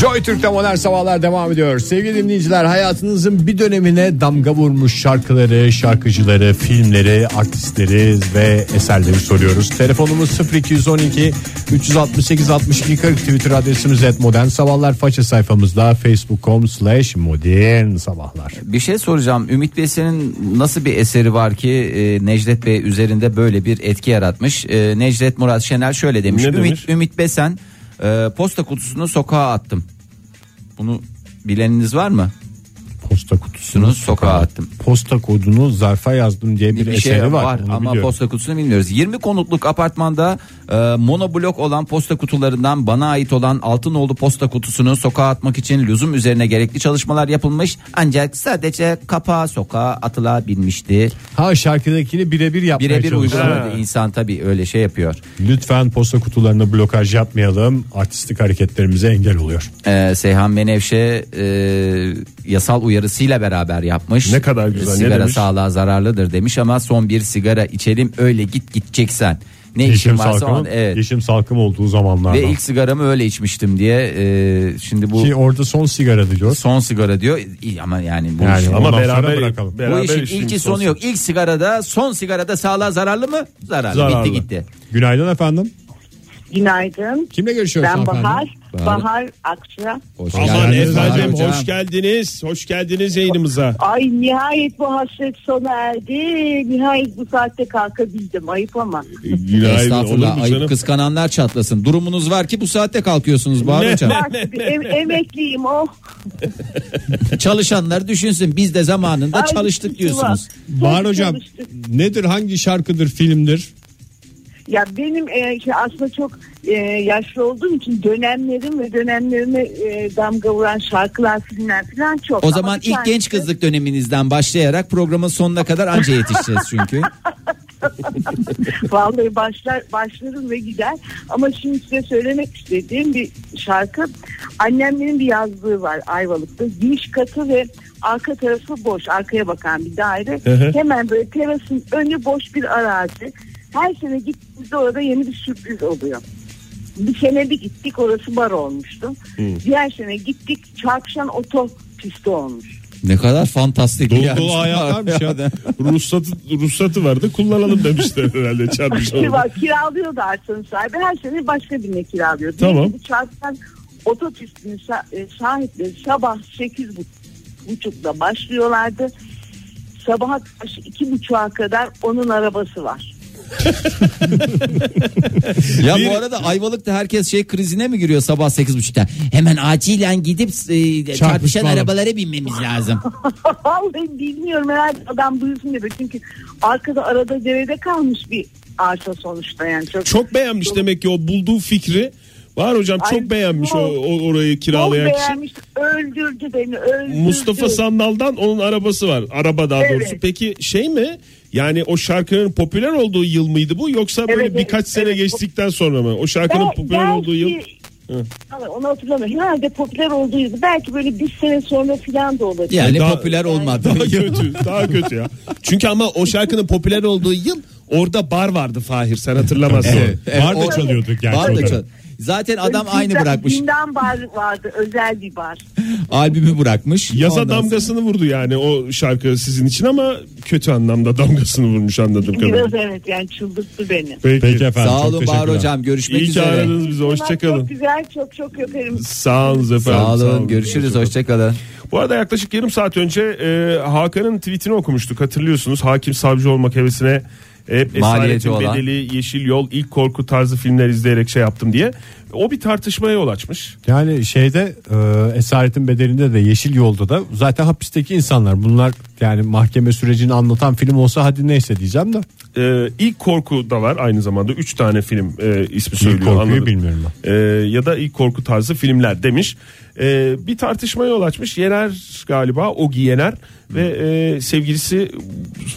Joy Türk'te modern sabahlar devam ediyor. Sevgili dinleyiciler hayatınızın bir dönemine damga vurmuş şarkıları, şarkıcıları, filmleri, artistleri ve eserleri soruyoruz. Telefonumuz 0212 368 62 40 Twitter adresimiz et modern sabahlar faça sayfamızda facebook.com slash modern sabahlar.
Bir şey soracağım. Ümit Besen'in nasıl bir eseri var ki e, Necdet Bey üzerinde böyle bir etki yaratmış? E, Necdet Murat Şenel şöyle demiş.
Ne
Ümit
demiş?
Ümit Besen e, posta kutusunu sokağa attım. Bunu bileniniz var mı?
Posta kutusunu
Bunu sokağa attım.
posta kodunu zarfa yazdım diye bir,
Bir,
eseri
şey var,
var. Onu
ama
biliyorum.
posta kutusunu bilmiyoruz. 20 konutluk apartmanda Ee, monoblok olan posta kutularından bana ait olan Altınoğlu posta kutusunu sokağa atmak için lüzum üzerine gerekli çalışmalar yapılmış. Ancak sadece kapağı sokağa atılabilmişti.
Ha şarkıdakini birebir yapmaya
Birebir
çalışıyor.
uygulamadı insan tabii öyle şey yapıyor.
Lütfen posta kutularına blokaj yapmayalım. Artistik hareketlerimize engel oluyor.
Ee, Seyhan Menevşe e, yasal uyarısıyla beraber yapmış.
Ne kadar güzel, ne
Sigara
demiş?
sağlığa zararlıdır demiş ama son bir sigara içelim öyle git gideceksen. Ne
Yeşim
işin varsa
salkım,
on, evet.
yeşim salkım olduğu zamanlarda.
Ve ilk sigaramı öyle içmiştim diye e, şimdi bu
Ki orada son sigara diyor.
son sigara diyor İyi ama yani bu
Yani
işin,
ama
Ama
Ondan sonra
beraber,
bırakalım.
bu
beraber
işin
işimiz
ilki sonu
olsun.
yok. İlk sigarada son sigarada sağlığa zararlı mı? Zararlı.
Zararlı.
Bitti gitti.
Günaydın efendim.
Günaydın.
Kimle görüşüyoruz
Ben
hanımefendi?
Bahar.
Bahar.
Bahar, Akça.
Hoş
Aman
geldiniz
efendim
Bahar
hoş
Hocam.
geldiniz. Hoş geldiniz yayınımıza.
Ay nihayet bu hasret sona erdi. Nihayet bu saatte kalkabildim. Ayıp ama.
Estağfurullah ayıp kıskananlar çatlasın. Durumunuz var ki bu saatte kalkıyorsunuz Bahar
Ne?
Hocam.
Bak, em- emekliyim oh.
Çalışanlar düşünsün biz de zamanında
Ay,
çalıştık diyorsunuz.
çok
Bahar hocam
çalıştık.
nedir hangi şarkıdır filmdir?
Ya benim e, şey aslında çok e, yaşlı olduğum için dönemlerim ve dönemlerime e, damga vuran şarkılar, filmler falan çok.
O
Ama
zaman
bir
ilk
tanesi-
genç kızlık döneminizden başlayarak programın sonuna kadar anca yetişeceğiz çünkü.
Vallahi başlar, başlarım ve gider. Ama şimdi size söylemek istediğim bir şarkı. Annemlerin bir yazdığı var Ayvalık'ta. Giriş katı ve arka tarafı boş. Arkaya bakan bir daire. Hemen böyle terasın önü boş bir arazi. Her sene gittiğimizde orada yeni bir sürpriz oluyor. Bir sene bir gittik orası bar olmuştu. Diğer sene gittik çarpışan oto pisti olmuş.
ne kadar fantastik.
Dolu
bir
dolu
yer.
hayatlarmış ya. Ruhsatı, ruhsatı vardı kullanalım demişler herhalde çarpmış
Bir
oldu.
var kiralıyordu arsanın sahibi. Her sene başka birine kiralıyor.
Tamam.
Bu çarptan otopistinin şa- e, şahitleri sabah sekiz bu- buçukta başlıyorlardı. Sabaha karşı iki buçuğa kadar onun arabası var.
Ya bu arada Ayvalık'ta herkes şey krizine mi giriyor sabah 8.30'da? Hemen acilen gidip e, çarpışan
Çarpışmalar.
arabalara binmemiz lazım.
Vallahi bilmiyorum herhalde adam duysun diye. Çünkü arkada arada derede kalmış bir arsa sonuçta yani. Çok,
Çok beğenmiş demek ki o bulduğu fikri. Var hocam çok
Ay,
beğenmiş
çok-
o, o- orayı
çok
kiralayan kişi.
beğenmiş. Öldürdü beni öldürdü.
Mustafa Sandal'dan onun arabası var. Araba daha doğrusu.
Şey- Evet.
Peki şey mi? Yani o şarkının popüler olduğu yıl mıydı bu yoksa böyle
Evet, evet,
birkaç sene
evet.
geçtikten sonra mı? O şarkının
Bel-
popüler
belki-
olduğu yıl. Hı.
Vallahi Onu hatırlamıyorum. Herhalde popüler olduğu yıl. Belki böyle bir sene sonra filan da olabilir.
Yani
Daha-
popüler olmadı.
Daha kötü, daha kötü ya. Çünkü ama o şarkının popüler olduğu yıl orada bar vardı Fahir sen hatırlamazsın.
Evet,
evet,
Bahar da
o-
çalıyordu gerçi.
Var da
orada.
çok- Zaten adam
Böyle
aynı
zindan-
bırakmış.
Zindan bar vardı özel bir bar.
Albümü bırakmış.
Yaza
Ondan sonra-
damgasını vurdu yani o şarkı sizin için ama kötü anlamda damgasını vurmuş anladım kadarıyla.
Biraz evet yani çıldırttı beni.
Peki.
Peki efendim.
Sağ
çok
olun Bahar
teşekkürler.
Hocam. Görüşmek
İyi ki
üzere.
aradınız bizi.
Çok
Hoşçakalın.
güzel çok çok öperim.
Sağ olun efendim.
Sağ olun.
Hoşça
Görüşürüz.
kalın.
Hoşçakalın.
Bu arada yaklaşık yarım saat önce e, Hakan'ın tweetini okumuştuk hatırlıyorsunuz. Hakim savcı olmak hevesine e, hep
Maliyeti
esaretin
olan.
bedeli, yeşil yol, ilk korku tarzı filmler izleyerek şey yaptım diye. O bir tartışmaya yol açmış.
Yani şeyde e, esaretin bedelinde de yeşil yolda da zaten hapisteki insanlar bunlar yani mahkeme sürecini anlatan film olsa hadi neyse diyeceğim de
Ee, ilk korku da var aynı zamanda 3 tane film e, ismi söylüyor.
korkuyu
anladım.
bilmiyorum
Ee, ya da ilk korku tarzı filmler demiş. Ee, bir tartışma yol açmış. Yener galiba Ogi Yener ve e, sevgilisi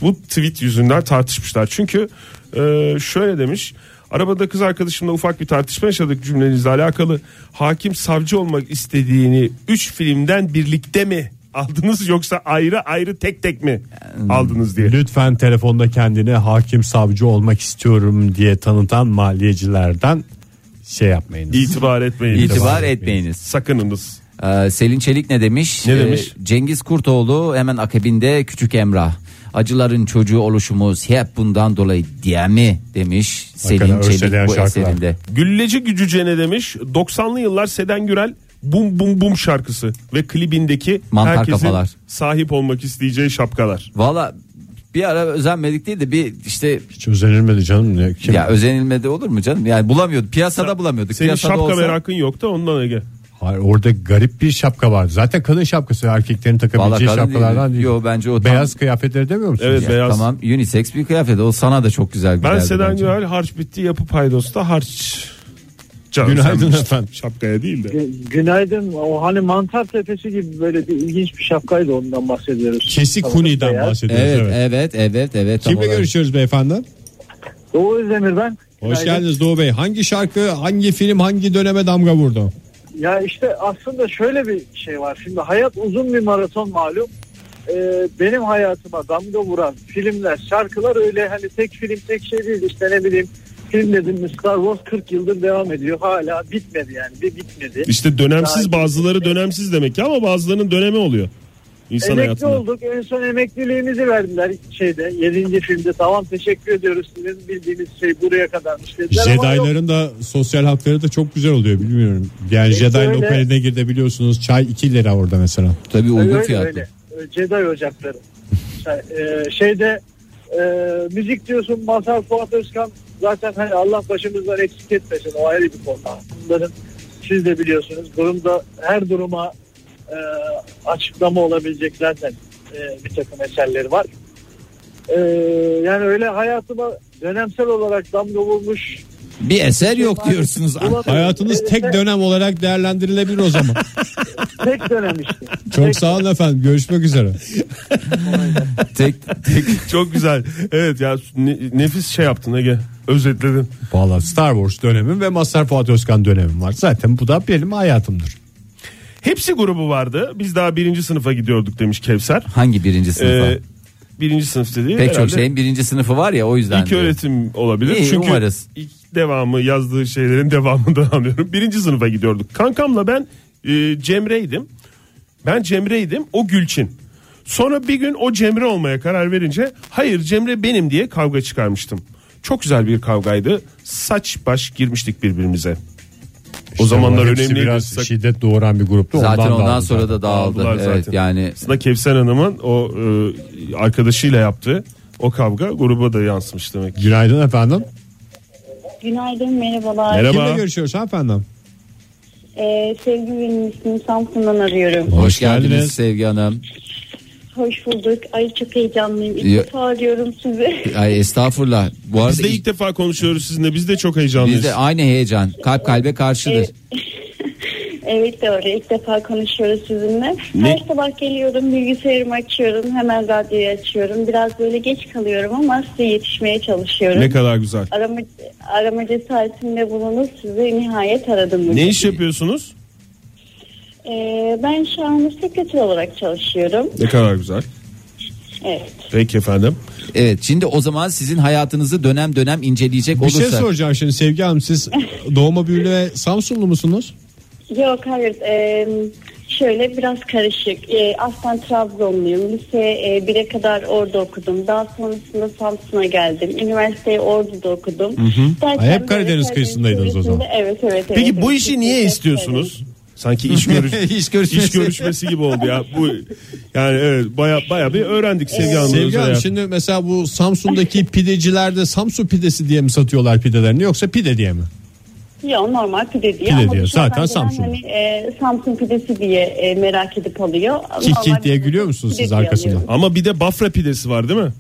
bu tweet yüzünden tartışmışlar. Çünkü e, şöyle demiş. Arabada kız arkadaşımla ufak bir tartışma yaşadık cümlenizle alakalı. Hakim savcı olmak istediğini 3 filmden birlikte mi aldınız yoksa ayrı ayrı tek tek mi aldınız diye.
lütfen telefonda kendini hakim savcı olmak istiyorum diye tanıtan maliyecilerden şey yapmayınız.
İtibar etmeyin.
İtibar etmeyiniz.
Sakınınız.
Ee, Selin Çelik ne demiş?
Ne demiş?
Ee, Cengiz Kurtoğlu hemen akabinde Küçük Emrah. Acıların çocuğu oluşumuz hep bundan dolayı diye mi demiş
Hakikaten
Selin
örseleyen
Çelik bu
şarkılar.
eserinde.
Gülleci Gücüce ne demiş? 90'lı yıllar Seden Gürel Bum Bum Bum şarkısı ve klibindeki
Mantar
herkesin
kafalar.
sahip olmak isteyeceği şapkalar.
Valla bir ara özenmedik değil de bir işte
Hiç özenilmedi canım. Ne- Kim?
ya özenilmedi olur mu canım? Yani bulamıyorduk. Piyasada bulamıyorduk.
Senin
Piyasada
şapka
olsa-
merakın yok da ondan Ege.
Hayır, orada garip bir şapka vardı. Zaten kadın şapkası erkeklerin
Vallahi
takabileceği
kadın
şapkalardan
değil.
değil.
Yo, bence o tam-
beyaz kıyafetleri demiyor musunuz?
Evet,
Ya,
beyaz.
Tamam unisex bir kıyafet o sana da çok güzel
Ben
güzeldi
Seden
bence.
Güler harç bitti yapı paydosta harç. Can,
Günaydın
sen-
efendim.
Şapkaya değil de.
Gü- Günaydın. O hani mantar tepesi gibi böyle bir ilginç bir şapkaydı ondan bahsediyoruz.
Kesik
Tamam,
Huni'den
beyaz.
bahsediyoruz.
Evet
Evet,
evet evet evet. tam
Kimle
olarak.
görüşüyoruz beyefendi?
Doğu Özdemir ben.
Hoş
Günaydın.
geldiniz Doğu Bey. Hangi şarkı, hangi film, hangi döneme damga vurdu?
Ya işte aslında şöyle bir şey var. Şimdi hayat uzun bir maraton malum. Ee, benim hayatıma damga vuran filmler, şarkılar öyle hani tek film tek şey değil işte ne bileyim film dedim mi Star Wars 40 yıldır devam ediyor. Hala bitmedi yani bir bitmedi.
İşte dönemsiz
Daha-
bazıları dönemsiz demek ki ama bazılarının dönemi oluyor. İnsan
Emekli
hayatında.
olduk. En son emekliliğimizi verdiler şeyde. 7. filmde tamam teşekkür ediyoruz. Sizin bildiğiniz şey buraya kadarmış dediler. ama yok.
Jedi'ların da sosyal hakları da çok güzel oluyor bilmiyorum. Yani Jedi'nin
öyle.
opeline girde biliyorsunuz çay 2 lira orada mesela.
Tabii uygun
öyle,
fiyatlı.
öyle. Jedi ocakları. Şey- e, şeyde e, müzik diyorsun Mazhar Fuat Özkan zaten hani Allah başımızdan eksik etmesin o ayrı bir konu. Bunların siz de biliyorsunuz durumda her duruma e, açıklama olabilecek zaten e, bir takım eserleri var. E, yani öyle hayatıma dönemsel olarak damga vurmuş.
Bir eser yok diyorsunuz.
Ulan-
Hayatınız tek
Evet,
dönem olarak değerlendirilebilir o zaman.
Tek dönem işte.
Çok sağ olun efendim. Görüşmek üzere.
tek tek
Çok güzel. Evet ya ne- nefis şey yaptın Ege. Özetledin.
Valla Star Wars dönemim ve Mazhar Fuat Özkan dönemim var. Zaten bu da benim hayatımdır.
Hepsi grubu vardı. Biz daha birinci sınıfa gidiyorduk demiş Kevser.
hangi birinci sınıfa?
Ee, birinci sınıf dediği
Pek çok şey
herhalde
şeyin birinci sınıfı var ya o yüzden.
İlk
diyorum.
öğretim olabilir.
İyi,
Çünkü
umarız.
ilk devamı yazdığı şeylerin devamından anlıyorum. Birinci sınıfa gidiyorduk. Kankamla ben e, Cemre'ydim. Ben Cemre'ydim. O Gülçin. Sonra bir gün o Cemre olmaya karar verince hayır Cemre benim diye kavga çıkarmıştım. Çok güzel bir kavgaydı. Saç baş girmiştik birbirimize. o zamanlar
Hepsi
önemliydi.
Biraz şey-
Sak-
şiddet doğuran bir gruptu.
Zaten ondan,
dağıldı
sonra
zaten.
da dağıldı.
Dağıldılar
Evet
zaten.
yani
Aslında Kevser Hanım'ın o e, arkadaşıyla yaptığı o kavga gruba da yansımış demek. ki.
Günaydın efendim.
Günaydın, merhabalar.
Merhaba.
Kimle görüşüyoruz efendim?
Ee, sevgi bilimcisini Samsun'dan arıyorum.
hoş geldiniz,
geldiniz.
Sevgi Hanım.
Hoş bulduk. Ay çok heyecanlıyım. İlk
Ya-
defa arıyorum sizi.
Ay estağfurullah. Bu arada
Biz de ilk defa konuşuyoruz sizinle. Biz de çok heyecanlıyız.
bizde aynı heyecan. Kalp kalbe karşıdır.
evet doğru. İlk defa konuşuyoruz sizinle.
Ne-
Her sabah geliyorum, bilgisayarımı açıyorum, hemen radyoyu açıyorum. Biraz böyle geç kalıyorum ama size yetişmeye çalışıyorum.
Ne kadar güzel.
Arama, arama cesaretinde bulunup sizi nihayet aradım. bugün.
Ne iş yapıyorsunuz?
Ee, ben şu an sekreter olarak çalışıyorum.
Ne kadar güzel.
Evet.
Peki efendim.
Evet şimdi o zaman sizin hayatınızı dönem dönem inceleyecek
Bir
olursak.
şey soracağım şimdi Sevgi Hanım siz doğma büyüle Samsunlu musunuz?
Yok hayır. Ee, şöyle biraz karışık. Ee, aslen Trabzonluyum. Lise e, 1'e kadar orada okudum. Daha sonrasında Samsun'a geldim. Üniversiteyi Ordu'da okudum. Derken
Ay, hep
böyle
Karadeniz kıyısındaydınız o zaman.
bölgesinde- Evet evet.
Peki
evet,
bu
evet.
işi niye
Evet,
istiyorsunuz? Sanki iş, görüş-
İş görüşmesi.
iş görüşmesi gibi oldu ya. Bu yani evet baya baya bir öğrendik Sevgi Hanım'ın
Sevgi
özel
Hanım
hayatı.
şimdi mesela bu Samsun'daki pidecilerde Samsun pidesi diye mi satıyorlar pidelerini yoksa pide diye mi?
evet. Yok normal pide diye.
Pide
Ama
diyor.
dışarıdan
Zaten
gelen
Samsun.
Hani, e, Samsun pidesi diye e, merak edip alıyor.
Kik
Normal
kik diye
pide-
gülüyor musunuz
pide
siz
diye
arkasından?
alıyorum.
Ama bir de Bafra pidesi var değil mi?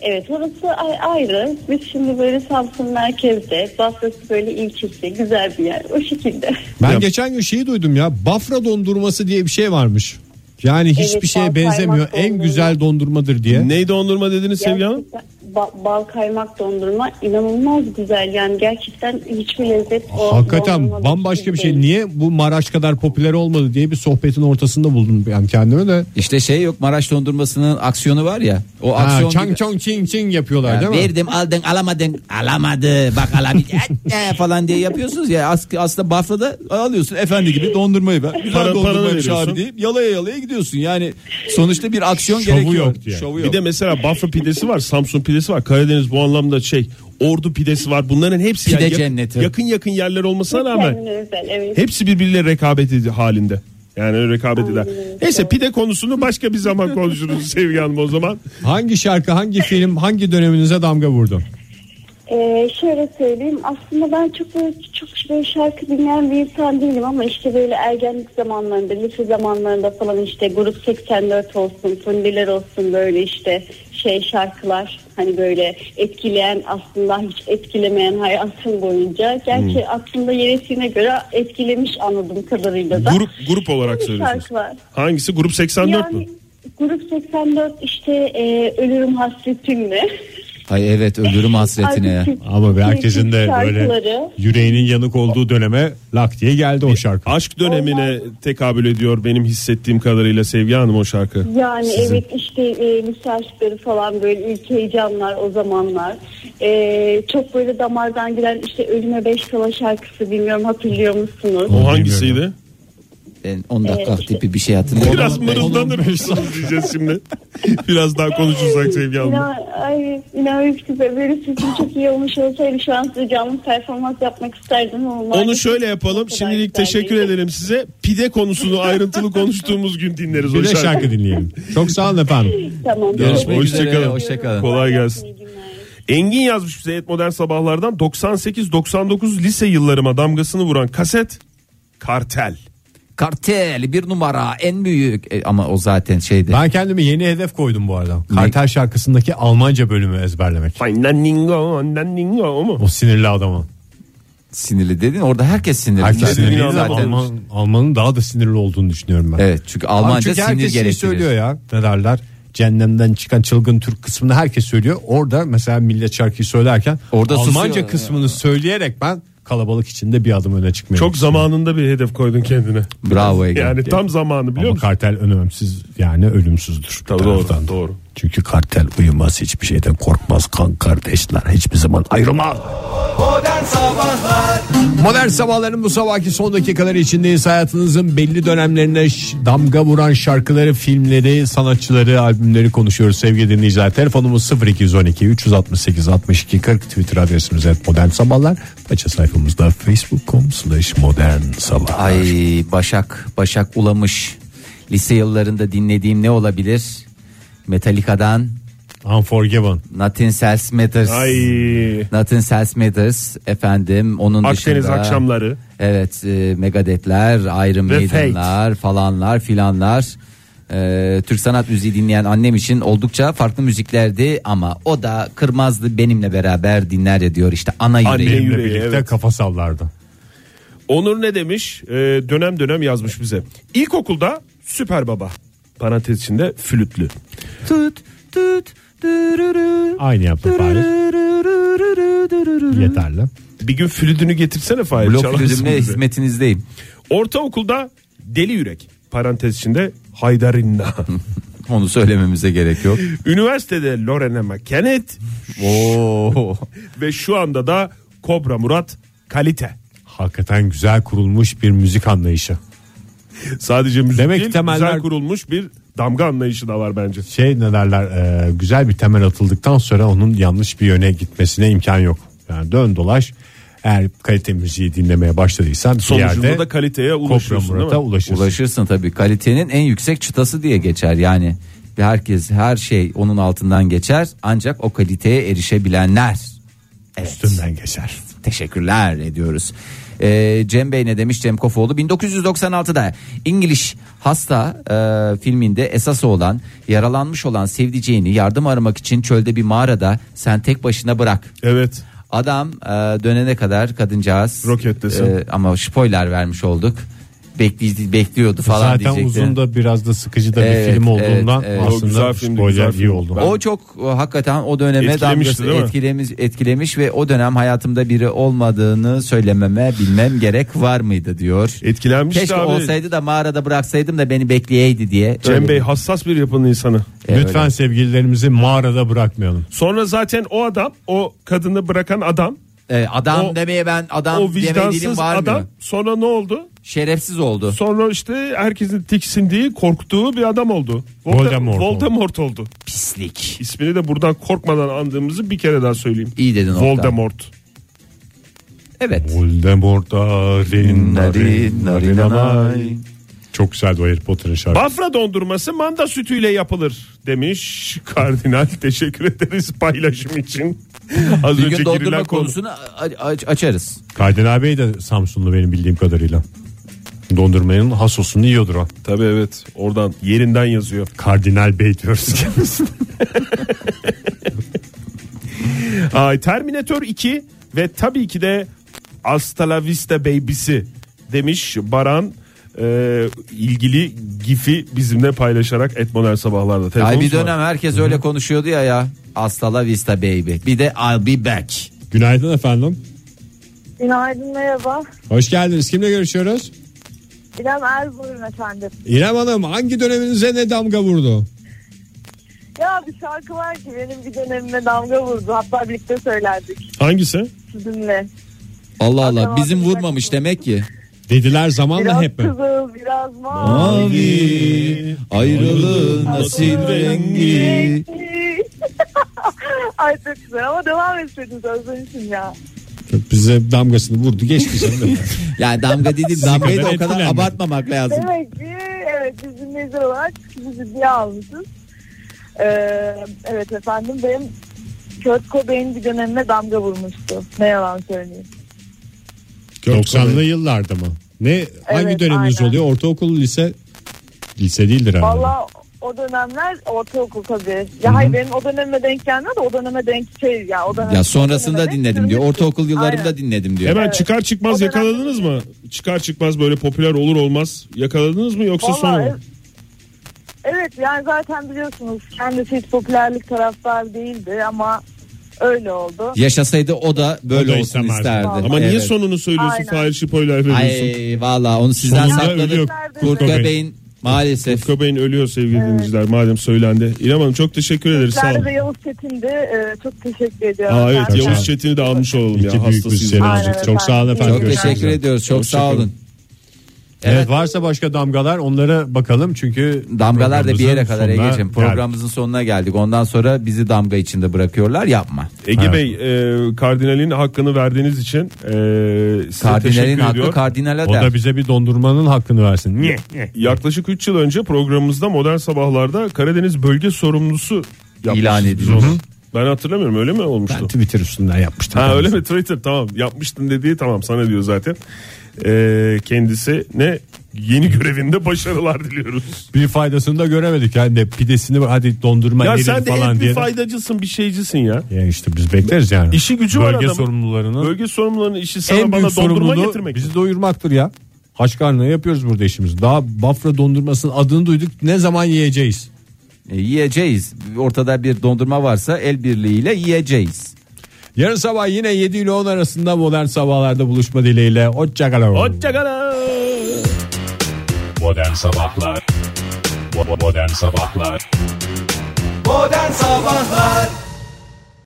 Evet orası ay- ayrı. Biz şimdi böyle Samsun merkezde. Bafrası böyle ilçesi. Güzel bir yer. O şekilde.
Ben
Ya-
geçen gün şeyi duydum ya Bafra dondurması diye bir şey varmış. Yani hiçbir
Evet,
şeye
bal
benzemiyor.
kaymak
En
dondurma.
güzel dondurmadır diye.
Ney dondurma dediniz Sevgi Hanım?
Gerçekten ba- bal kaymak dondurma inanılmaz güzel yani gerçekten hiçbir lezzet o
Hakikaten
dondurmada
bambaşka bir şey.
değil.
Niye bu Maraş kadar popüler olmadı diye bir sohbetin ortasında buldum yani kendimi de.
İşte şey yok Maraş dondurmasının aksiyonu var ya. O
Ha,
aksiyon
çang
gibi-
çong çing çing yapıyorlar
Ya
değil mi?
verdim aldın alamadın alamadı bak alamayacak Eh, falan diye yapıyorsunuz ya As, aslında Bafra'da alıyorsun efendi gibi dondurmayı ver. Güzel
Para- paranı
dondurmaymış abi
veriyorsun.
deyip yalaya yalaya gidiyorsun yani sonuçta bir aksiyon
Şovu
gerekiyor.
yok diye.
Şovu
Bir de mesela Bafra pidesi var, Samsun pidesi var. Karadeniz bu anlamda şey, Ordu pidesi var. Bunların hepsi
Pide
yak-
cenneti.
yakın yakın yerler olmasına rağmen
Kendine özel, evet.
Hepsi birbiriyle rekabet edi- halinde. Yani rekabet eder. Neyse pide konusunu başka bir zaman konuşuruz Sevgi Hanım o zaman.
Hangi şarkı, hangi film, hangi döneminize damga vurdu?
Ee,
Ee, şöyle söyleyeyim aslında ben çok böyle, çok böyle şarkı dinleyen bir insan değilim ama işte böyle ergenlik zamanlarında lise zamanlarında falan işte grup 84 olsun fundiler olsun böyle işte şey şarkılar hani böyle etkileyen aslında hiç etkilemeyen hayatım boyunca gerçi aslında yeresine göre etkilemiş anladığım kadarıyla da.
Grup grup olarak
Hangi
söylüyorsunuz.
şarkılar?
Hangisi? Grup 84 mü?
Yani grup 84 işte e, ölürüm hasretimle.
Ay evet ölürüm hasretine. ya.
Artık
Ama bir herkesin de böyle
şarkıları.
yüreğinin yanık olduğu döneme lak diye geldi o şarkı.
Aşk dönemine tekabül ediyor benim hissettiğim kadarıyla Sevgi Hanım o şarkı.
Yani evet işte e, lise aşkları falan böyle ilk heyecanlar o zamanlar. E, çok böyle damardan giren işte Ölüme Beş Kala şarkısı bilmiyorum hatırlıyor musunuz?
O
Onu
hangisiydi?
bilmiyorum.
Ben 10 dakika
Evet, işte.
tipi bir şey hatırlıyorum.
Biraz
ama ben-
mırıldanırmışsınız diyeceğiz şimdi. Biraz daha konuşursak Sevgi Hanım.
İnan, ay, inan üç güzel böyle sesim çok iyi olmuş olsaydı şu an size canlı performans yapmak isterdim. ama
Onu
maalesef
şöyle yapalım.
o kadar
Şimdilik
güzel
teşekkür
şey değil.
ederim size. Pide konusunu ayrıntılı konuştuğumuz gün dinleriz o
Bir de
şarkıyı.
şarkı dinleyelim. Çok sağ olun efendim.
Tamam.
Görüşmek
Hoşça
üzere,
kalın.
hoşça kalın.
Kolay
İyi
gelsin.
günler.
Engin yazmış bize et modern sabahlardan 98-99 lise yıllarıma damgasını vuran kaset Kartel.
Kartel bir numara en büyük E, ama o zaten şeydi.
Ben kendime yeni hedef koydum bu arada. Kartel şarkısındaki Almanca bölümü ezberlemek.
Feinlandingo, Landingo o mu?
O sinirli adamı.
Sinirli dedin orada herkes sinirli.
Herkes
zaten.
sinirli E,
adam
Zaten-
Alman, Alman'ın daha da sinirli olduğunu düşünüyorum ben.
Evet çünkü
Ama
Almanca
çünkü
sinir
herkes şeyi söylüyor ya.
gerektirir.
Ne derler? Cehennemden çıkan çılgın Türk kısmını herkes söylüyor. Orada mesela millet şarkıyı söylerken Orada
Orada
Almanca
susuyor.
kısmını söyleyerek ben kalabalık içinde bir adım öne çıkmaya
Çok
çalışıyorum.
zamanında bir hedef koydun kendine.
şey. Bravo Ege.
Yani tam zamanı biliyor
Ama
musun?
kartel önemsiz yani ölümsüzdür.
Tabii
Bir
doğru,
taraftan.
doğru.
Çünkü kartel uyumaz hiçbir şeyden korkmaz kan kardeşler hiçbir zaman ayrılmaz. Modern sabahların bu sabahki son dakikaları içindeyiz. Hayatınızın belli dönemlerine ş- damga vuran şarkıları, filmleri, sanatçıları, albümleri konuşuyoruz sevgili dinleyiciler. Telefonumuz 0212 368 62 40 Twitter adresimiz et modern sabahlar. Paça sayfamızda facebook.com slash modern sabahlar.
Ay Başak, Başak ulamış. Lise yıllarında dinlediğim ne olabilir? Metallica'dan
Unforgiven.
Nothing Else Matters.
Ay.
Nothing Else Matters efendim. Onun
Akdeniz
dışında-
akşamları.
Evet, e, Megadeth'ler, Iron
Ve
Maiden'lar falanlar filanlar. E, Türk sanat müziği dinleyen annem için oldukça farklı müziklerdi ama o da kırmazdı benimle beraber dinler ya diyor işte ana
Anne
yüreğim.
yüreği,
birlikte
evet.
kafa sallardı.
Onur ne demiş? Ee, dönem dönem yazmış bize. İlkokulda süper baba. Parantez içinde flütlü.
Tut tut dürürü,
Aynı yaptı Fahir.
dürürürürürürü, dürürü.
Yeterli.
Bir gün flütünü getirsene Fahir.
Blok
çalarsın
flütümle
bize.
hizmetinizdeyim.
Ortaokulda deli yürek. Parantez içinde Haydarinna.
Onu söylememize gerek yok.
Üniversitede Lorena McKennitt
Oo.
ve şu anda da Kobra Murat kalite.
Hakikaten güzel kurulmuş bir müzik anlayışı.
Sadece müzik
Demek
değil,
temeller-
güzel kurulmuş bir damga anlayışı da var bence.
Şey ne derler e, güzel bir temel atıldıktan sonra onun yanlış bir yöne gitmesine imkan yok. Yani dön dolaş eğer kalite müziği dinlemeye başladıysan
Sonucunda
bir yerde
da kaliteye
Kopra
ulaşıyorsun değil
Murat'a
mi?
ulaşırsın.
Ulaşırsın tabii. Kalitenin en yüksek çıtası diye geçer yani. Ve herkes her şey onun altından geçer ancak o kaliteye erişebilenler. Evet.
Üstünden geçer.
Teşekkürler ediyoruz. Ee, Cem Bey ne demiş Cem Kofoğlu 1996'da İngiliz Hasta e, filminde esas olan yaralanmış olan sevdiceğini yardım aramak için çölde bir mağarada sen tek başına bırak.
Evet.
Adam e, dönene kadar kadıncağız e,
Roketlesin.
ama spoiler vermiş olduk. Bekli, bekliyordu falan
Zaten
diyecekti.
uzun da biraz da sıkıcı da
Evet,
bir film
evet,
olduğundan
evet.
O
aslında
güzel filmdi,
spoiler
güzel
iyi
filmdi.
oldu.
O çok e, hakikaten o döneme
Etkilemişti,
damgası
değil mi?
etkilemiş, etkilemiş ve o dönem hayatımda biri olmadığını söylememe bilmem gerek var mıydı diyor.
Etkilenmişti
Keşke
E, abi.
olsaydı da mağarada bıraksaydım da beni bekleyeydi diye.
Cem
Öyle
Bey
bir-
hassas bir yapının insanı.
E,
Lütfen
öyle.
sevgililerimizi mağarada bırakmayalım.
Sonra zaten o adam, o kadını bırakan adam,
E, adam
O-
demeye ben adam
o
demeye dilim
vicdansız
var
adam sonra ne oldu?
Şerefsiz oldu.
Sonra işte herkesin tiksindiği, korktuğu bir adam oldu.
Voldemort oldu.
Voldemort oldu.
Pislik.
İsmini de buradan korkmadan andığımızı bir kere daha söyleyeyim.
İyi dedin Oktay.
Voldemort.
Evet.
Voldemort narin, narin,
Narin,
narin,
narin,
narin.
narin.
Çok güzeldi o Harry Potter'ın şarkısı.
Bafra dondurması manda sütüyle yapılır demiş kardinal. Teşekkür ederiz paylaşım için. Az
Bir
önce
gün dondurma
girilen konu.
konusunu a- aç- açarız.
Kaydın abi de Samsunlu benim bildiğim kadarıyla. Dondurmanın hasosunu yiyordur o.
Tabii evet oradan yerinden yazıyor.
Kardinal Bey diyoruz kendisine.
Ay, Terminator 2 ve tabii ki de Hasta la Vista Baby'si demiş Baran e, ilgili gifi bizimle paylaşarak et modern sabahlarda.
Ay
Telefonumuz
bir
var.
dönem herkes öyle konuşuyordu ya ya. Hasta la vista baby. Bir de I'll be back.
Günaydın efendim.
Günaydın merhaba.
Hoş geldiniz. Kimle görüşüyoruz?
İrem Erzurum efendim.
İrem Hanım hangi döneminize ne damga vurdu?
Ya bir şarkı var ki benim bir dönemime damga vurdu. Hatta birlikte söylerdik
Hangisi?
sizinle.
Allah Allah
Tamam,
bizim
bir
vurmamış demek ki.
Dediler zamanla
Biraz
hep mi?
kızıl, biraz mavi.
Mavi ayrılığın asil rengi.
Ay çok güzel ama devam etseydiniz özlemişim ya.
Bize damgasını vurdu geçti canım.
Yani damga değil damgayı da
kadar
o kadar
etkilenmedim.
abartmamak lazım.
Demek ki evet biz dinleyiciler olarak sizi ciddiye almışız. Ee, evet efendim benim Kurt Cobain bir dönemime damga vurmuştu. Ne yalan söyleyeyim.
90'lı yıllarda mı? Ne hangi
Evet,
döneminiz
aynen.
oluyor? Ortaokul, lise? Lise değildir herhalde.
Valla o dönemler ortaokul tabii. Ya hayır benim o döneme denk gelmedi de o döneme denk şey ya. O dönem,
Ya sonrasında dinledim diyor.
Ortaokul.
Ortaokul yıllarımda
Aynen.
dinledim diyor.
Hemen
Evet.
çıkar çıkmaz
O dönem-
yakaladınız mı? Çıkar çıkmaz böyle popüler olur olmaz yakaladınız mı yoksa sonra
Vallahi
mı?
Evet yani zaten biliyorsunuz kendisi hiç popülerlik taraftar değildi ama öyle oldu.
Yaşasaydı o da böyle
O da
olsun
istemezdi.
isterdi.
Ama niye
Evet.
sonunu söylüyorsun
Aynen.
Fahir Şipoylar veriyorsun?
Ay valla onu sizden
Sonunda
sakladık.
ölüyor
Kurt
Cobain.
Cobain maalesef.
Köpeğin ölüyor sevgili dinleyiciler madem söylendi. İrem Hanım çok teşekkür ederiz sağ
Sizlerle
olun.
de Yavuz Çetin'di. Ee, çok teşekkür ediyorum.
Aa, evet
Ben-
Sağ
Yavuz
olun.
Çetin'i de almış olalım
İki
ya
büyük
hastasıyız.
müzisyen
Aynen
olacak.
efendim.
Çok sağ olun efendim.
Çok
Görüşmek
teşekkür
üzere.
ediyoruz. Çok sağ olun.
Evet. varsa başka damgalar onlara bakalım çünkü
Damgalar da bir yere
programımızın
kadar
sonuna
Ege'ciğim.
geldik.
Programımızın sonuna geldik. Ondan sonra bizi damga içinde bırakıyorlar. Yapma.
Ege
Evet.
Bey e, kardinalin hakkını verdiğiniz için e, size
Kardinalin
teşekkür
hakkı
ediyorum.
kardinale
O
der.
da bize bir dondurmanın hakkını versin. Niye?
Yaklaşık 3 yıl önce programımızda Modern Sabahlar'da Karadeniz Bölge Sorumlusu yapmıştık
İlan
biz
edildi.
onu. Ben hatırlamıyorum öyle mi olmuştu?
Twitter üstünden yapmıştım.
Ha öyle mi Twitter tamam yapmıştın dediği tamam sana diyor zaten. E, kendisine yeni görevinde başarılar diliyoruz.
Bir faydasını da göremedik. Yani de pidesini hadi dondurma
Ya
yerim
sen de
falan
hep bir
diye.
faydacısın bir şeycisin ya.
Ya işte biz bekleriz yani.
İşi gücü var
Bölge
adamın.
sorumlularının
Bölge sorumlularının işi sana
en büyük
bana dondurma
sorumluluğu
getirmek.
bizi doyurmaktır ya. Aç karnına yapıyoruz burada işimizi. Daha Bafra dondurmasının adını duyduk. Ne zaman yiyeceğiz?
E, yiyeceğiz. Ortada bir dondurma varsa el birliğiyle yiyeceğiz.
Yarın sabah yine 7 ile 10 arasında modern sabahlarda buluşma dileğiyle. Hoşçakalın.
Hoşçakalın.
Modern Sabahlar Bo- Modern Sabahlar
Modern Sabahlar